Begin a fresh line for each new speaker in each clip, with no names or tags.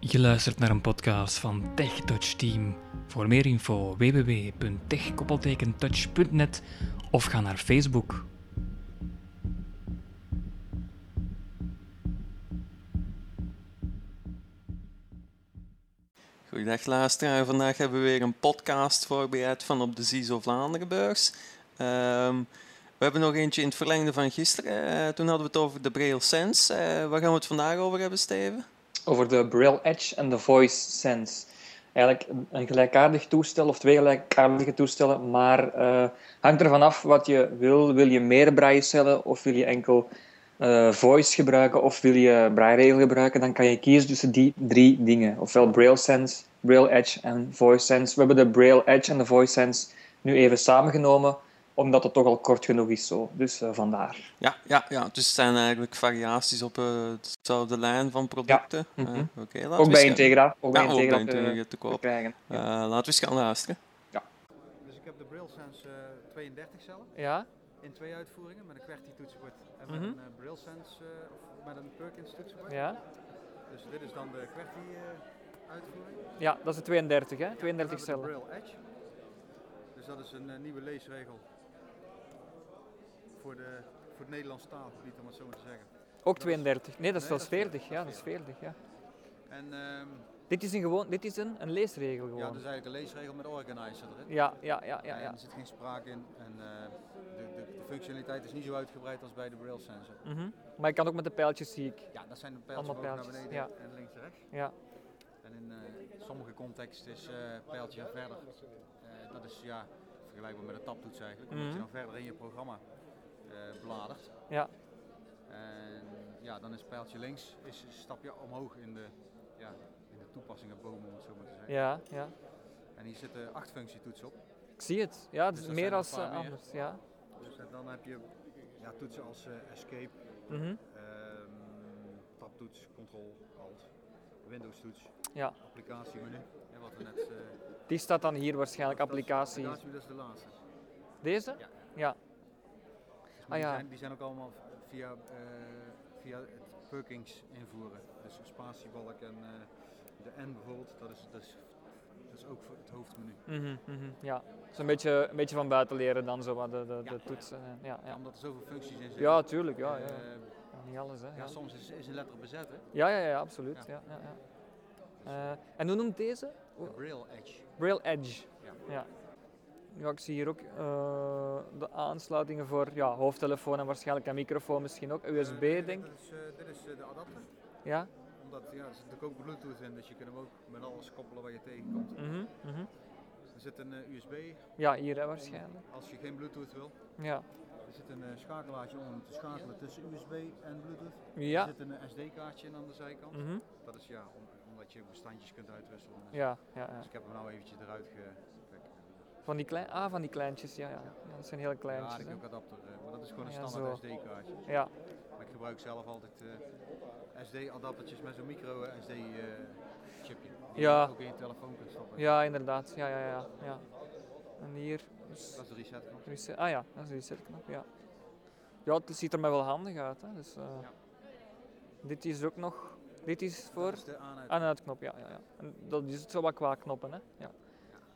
Je luistert naar een podcast van Tech Touch Team. Voor meer info www.tech-touch.net of ga naar Facebook.
Goedendag luisteraar, vandaag hebben we weer een podcast voorbereid van op de ZISO Vlaanderenbeurs. Ehm, we hebben nog eentje in het verlengde van gisteren. Eh, toen hadden we het over de Braille Sense. Eh, waar gaan we het vandaag over hebben, Steven?
over de Braille Edge en de Voice Sense. Eigenlijk een- een gelijkaardig toestel of twee gelijkaardige toestellen, maar eh, hangt ervan af wat je wil. Wil je meer braille of wil je enkel eh, voice gebruiken of wil je braille gebruiken? Dan kan je kiezen tussen die drie dingen. Ofwel Braille Sense, Braille Edge en Voice Sense. We hebben de Braille Edge en de Voice Sense nu even samengenomen, omdat het toch al kort genoeg is zo. Dus eh, vandaar.
Ja, ja, ja. dus het zijn eigenlijk variaties op eh, dezelfde lijn van producten. Eh,
mhm.
Oké, laten we
Ook bij
eens gaan-
Integra. Ook bij
Ja, ook
Integra
bij
te-
Integra te
te
koop.
krijgen.
Eh, laten we eens gaan luisteren.
Dus ik heb de BrailleSense eh 32 zelf
Ja,
in twee uitvoeringen met een QWERTY toetsenbord en met
Mhm.
een eh, BrailleSense eh, of met een Perkins toetsenbord.
ja.
Dus dit is dan de QWERTY eh, uitvoering. Dan
Ja, dat is de 32, hè?
hebben
32
we
cellen.
De Braille Edge. Dus dat is een eh, nieuwe leesregel voor, de, voor het Nederlands taalgebied om het zo maar te zeggen.
Ook
is-
32. Nee, dat is
Nee,
wel
dat is
40. Ja, dat is 40, ja.
En ehm,
Dit is een, gewoon, dit is een, een leesregel gewoon.
ja, dus- dat is eigenlijk een leesregel met organizer erin.
ja, ja, ja, ja,
En
ja.
er zit geen sprake in en eh, de, de, de functionaliteit is niet zo uitgebreid als bij de BrailleSense.
Mhm. Maar je kan ook met de pijltjes, zie ik.
Ja, dat zijn de pijltjes
Allemaal
omhoog naar
pijltjes,
beneden en links en rechts.
Ja.
En in eh, sommige contexten is eh pijltje en verder. Eh, dat is ja, vergelijkbaar met een taptoets eigenlijk, omdat
Mhm.
je dan verder in je programma eh, bladert.
Ja.
En ja, dan is pijltje links is een stapje omhoog in de, ja, in de toepassingenboom, om het zo maar te zeggen.
Ja, ja.
En hier zitten acht functietoetsen op.
Ik zie het. Ja, het
Dus
is
dat
meer
zijn
als
er een
eh,
paar meer.
anders. Ja.
Dus en dan heb je ja, toetsen als eh, escape,
Mhm.
ehm, taptoets, control, alt, Windows toets,
Ja.
applicatiemenu. En wat we net... eh,
Die staat dan hier waarschijnlijk,
Dat is-
applicatie.
Applicatie, dat is de laatste. Dus
Deze?
Ja.
Ja. Ah,
maar
ja.
die, zijn, die zijn ook allemaal via, eh, via het Perkins invoeren. Dus spatiebalk en eh, de N bijvoorbeeld, dat is, dat, is, dat is ook voor het hoofdmenu.
Mhm, mhm, ja. Dus een beetje, een beetje van buiten leren dan zo wat de, de, de
Ja.
toetsen. eh, Ja,
Ja,
ja.
omdat er zoveel functies in zitten.
ja, tuurlijk. Ja,
eh,
ja. Ja, Niet alles, hè.
ja,
Ja,
soms is, is een letter bezet. Hè?
ja, ja, ja, absoluut.
Ja.
Ja, ja, ja. Eh, en hoe noemt deze?
De Braille Edge.
Braille Edge.
Ja.
Ja. Ja, ik zie hier ook eh, de aansluitingen voor ja, hoofdtelefoon en waarschijnlijk een microfoon misschien ook. USB,
Eh,
denk ik.
dat is, eh, dit is eh, de adapter.
Ja.
Omdat ja, er zit natuurlijk ook Bluetooth in, dus je kunt hem ook met alles koppelen waar je tegenkomt.
Mhm, mhm.
Er zit een eh, USB
Ja, hier hè, waarschijnlijk.
als je geen Bluetooth wil.
Ja.
Er zit een eh, schakelaartje om hem te schakelen tussen USB en Bluetooth. Er
Ja.
zit een eh, SD-kaartje in aan de zijkant.
Mhm.
Dat is ja, om- omdat je bestandjes kunt uitwisselen.
Ja, ja, ja.
Dus ik heb hem nou eventjes eruit ge... kijk.
Van die klein, ah, van die kleintjes, ja, ja. ja dat zijn hele
Ja,
kleintjes.
ik
hè.
heb ook adapter, eh, maar dat is gewoon een
Ja,
standaard
zo.
SD-kaartje.
Ja,
Maar ik gebruik zelf altijd SD-adaptertjes met zo'n eh, micro-SD-chipje. die
Ja.
je ook in je telefoon kunt stoppen.
ja, inderdaad. Ja, ja, ja. ja. En hier. Dus,
Dat is de resetknop.
reset- ah ja, dat is de resetknop, ja. Ja, het ziet er mij wel handig uit. Hè. Dus, eh,
Ja.
Dit is ook nog, dit is voor
Dat is de aan-uit.
Aan- en uitknop, ja. ja, ja. En dat is het zo wat qua knoppen. Hè? Ja.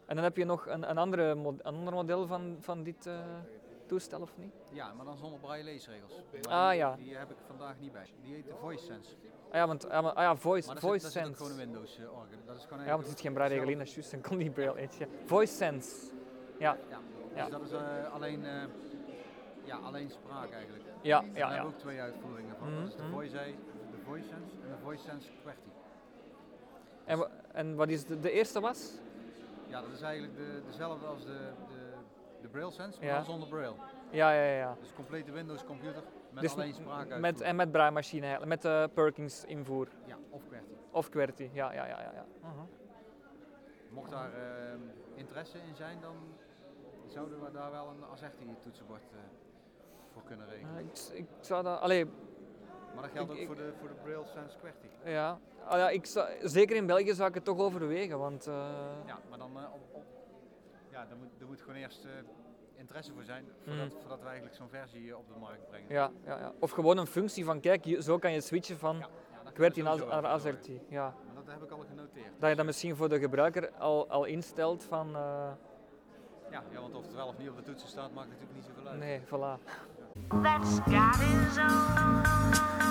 En dan heb je nog een, een, andere mod- een ander model van, van dit eh, toestel, of niet?
Ja, maar dan zonder braille leesregels. Maar
Ah,
die,
ja.
Die heb ik vandaag niet bij. Die heet de Voice Sense.
Ah ja, want ah, maar- ah, ja, voice,
Maar dat
voice
zit, daar zit ook
sense.
gewoon een Windows eh, organ. Dat is gewoon
ja, want er zit geen braille in, dat is juist, dan kon die braille edge. ja. Voice sense. Ja,
Ja,
Ja.
dus dat is eh, alleen, eh, ja, alleen spraak eigenlijk. Ja,
ja,
Daar
ja.
hebben
ja.
we ook twee uitvoeringen van.
Mhm,
Dat is de
mhm.
Voice, Eye- de voice Sense en de Voice Sense QWERTY.
En, wa- en wat is de, de eerste was?
Ja, dat is eigenlijk de, dezelfde als de, de, de Braille Sense, maar
Ja.
dan zonder Braille.
Ja, ja, ja, ja.
Dus complete Windows computer met
Dus
alleen spraak
Met, en met braaimachine eigenlijk, met de Perkins invoer.
Ja, of QWERTY.
Of QWERTY, ja, ja, ja. ja, ja. Mhm.
Mocht daar eh, interesse in zijn, dan zouden we daar wel een AZERTY toetsenbord eh, voor kunnen regelen.
Eh, ik, ik zou dat... Allee,
Maar dat geldt
Ah, ik-
ook
ik-
voor de, voor de Braille Sense QWERTY.
Ja, Ah ja ik zou, zeker in België zou ik het toch overwegen, want eh,
Ja, maar dan, eh, op, op, ja, dan moet, er moet gewoon eerst eh, interesse voor zijn voordat,
Mhm.
voordat we eigenlijk zo'n versie eh, op de markt brengen.
ja, ja, ja. of gewoon een functie van kijk, hier- zo kan je switchen van
Ja, dat kunnen we
QWERTY
sowieso
naar naar
wel verzorgen.
AZERTY. Ja,
Maar dat dat heb ik al genoteerd.
Dat je dat misschien voor de gebruiker al, al instelt van... eh,
Ja, ja, want of het wel of niet op de toetsen staat, maakt natuurlijk niet zoveel uit.
nee, voilà.
That's got his own.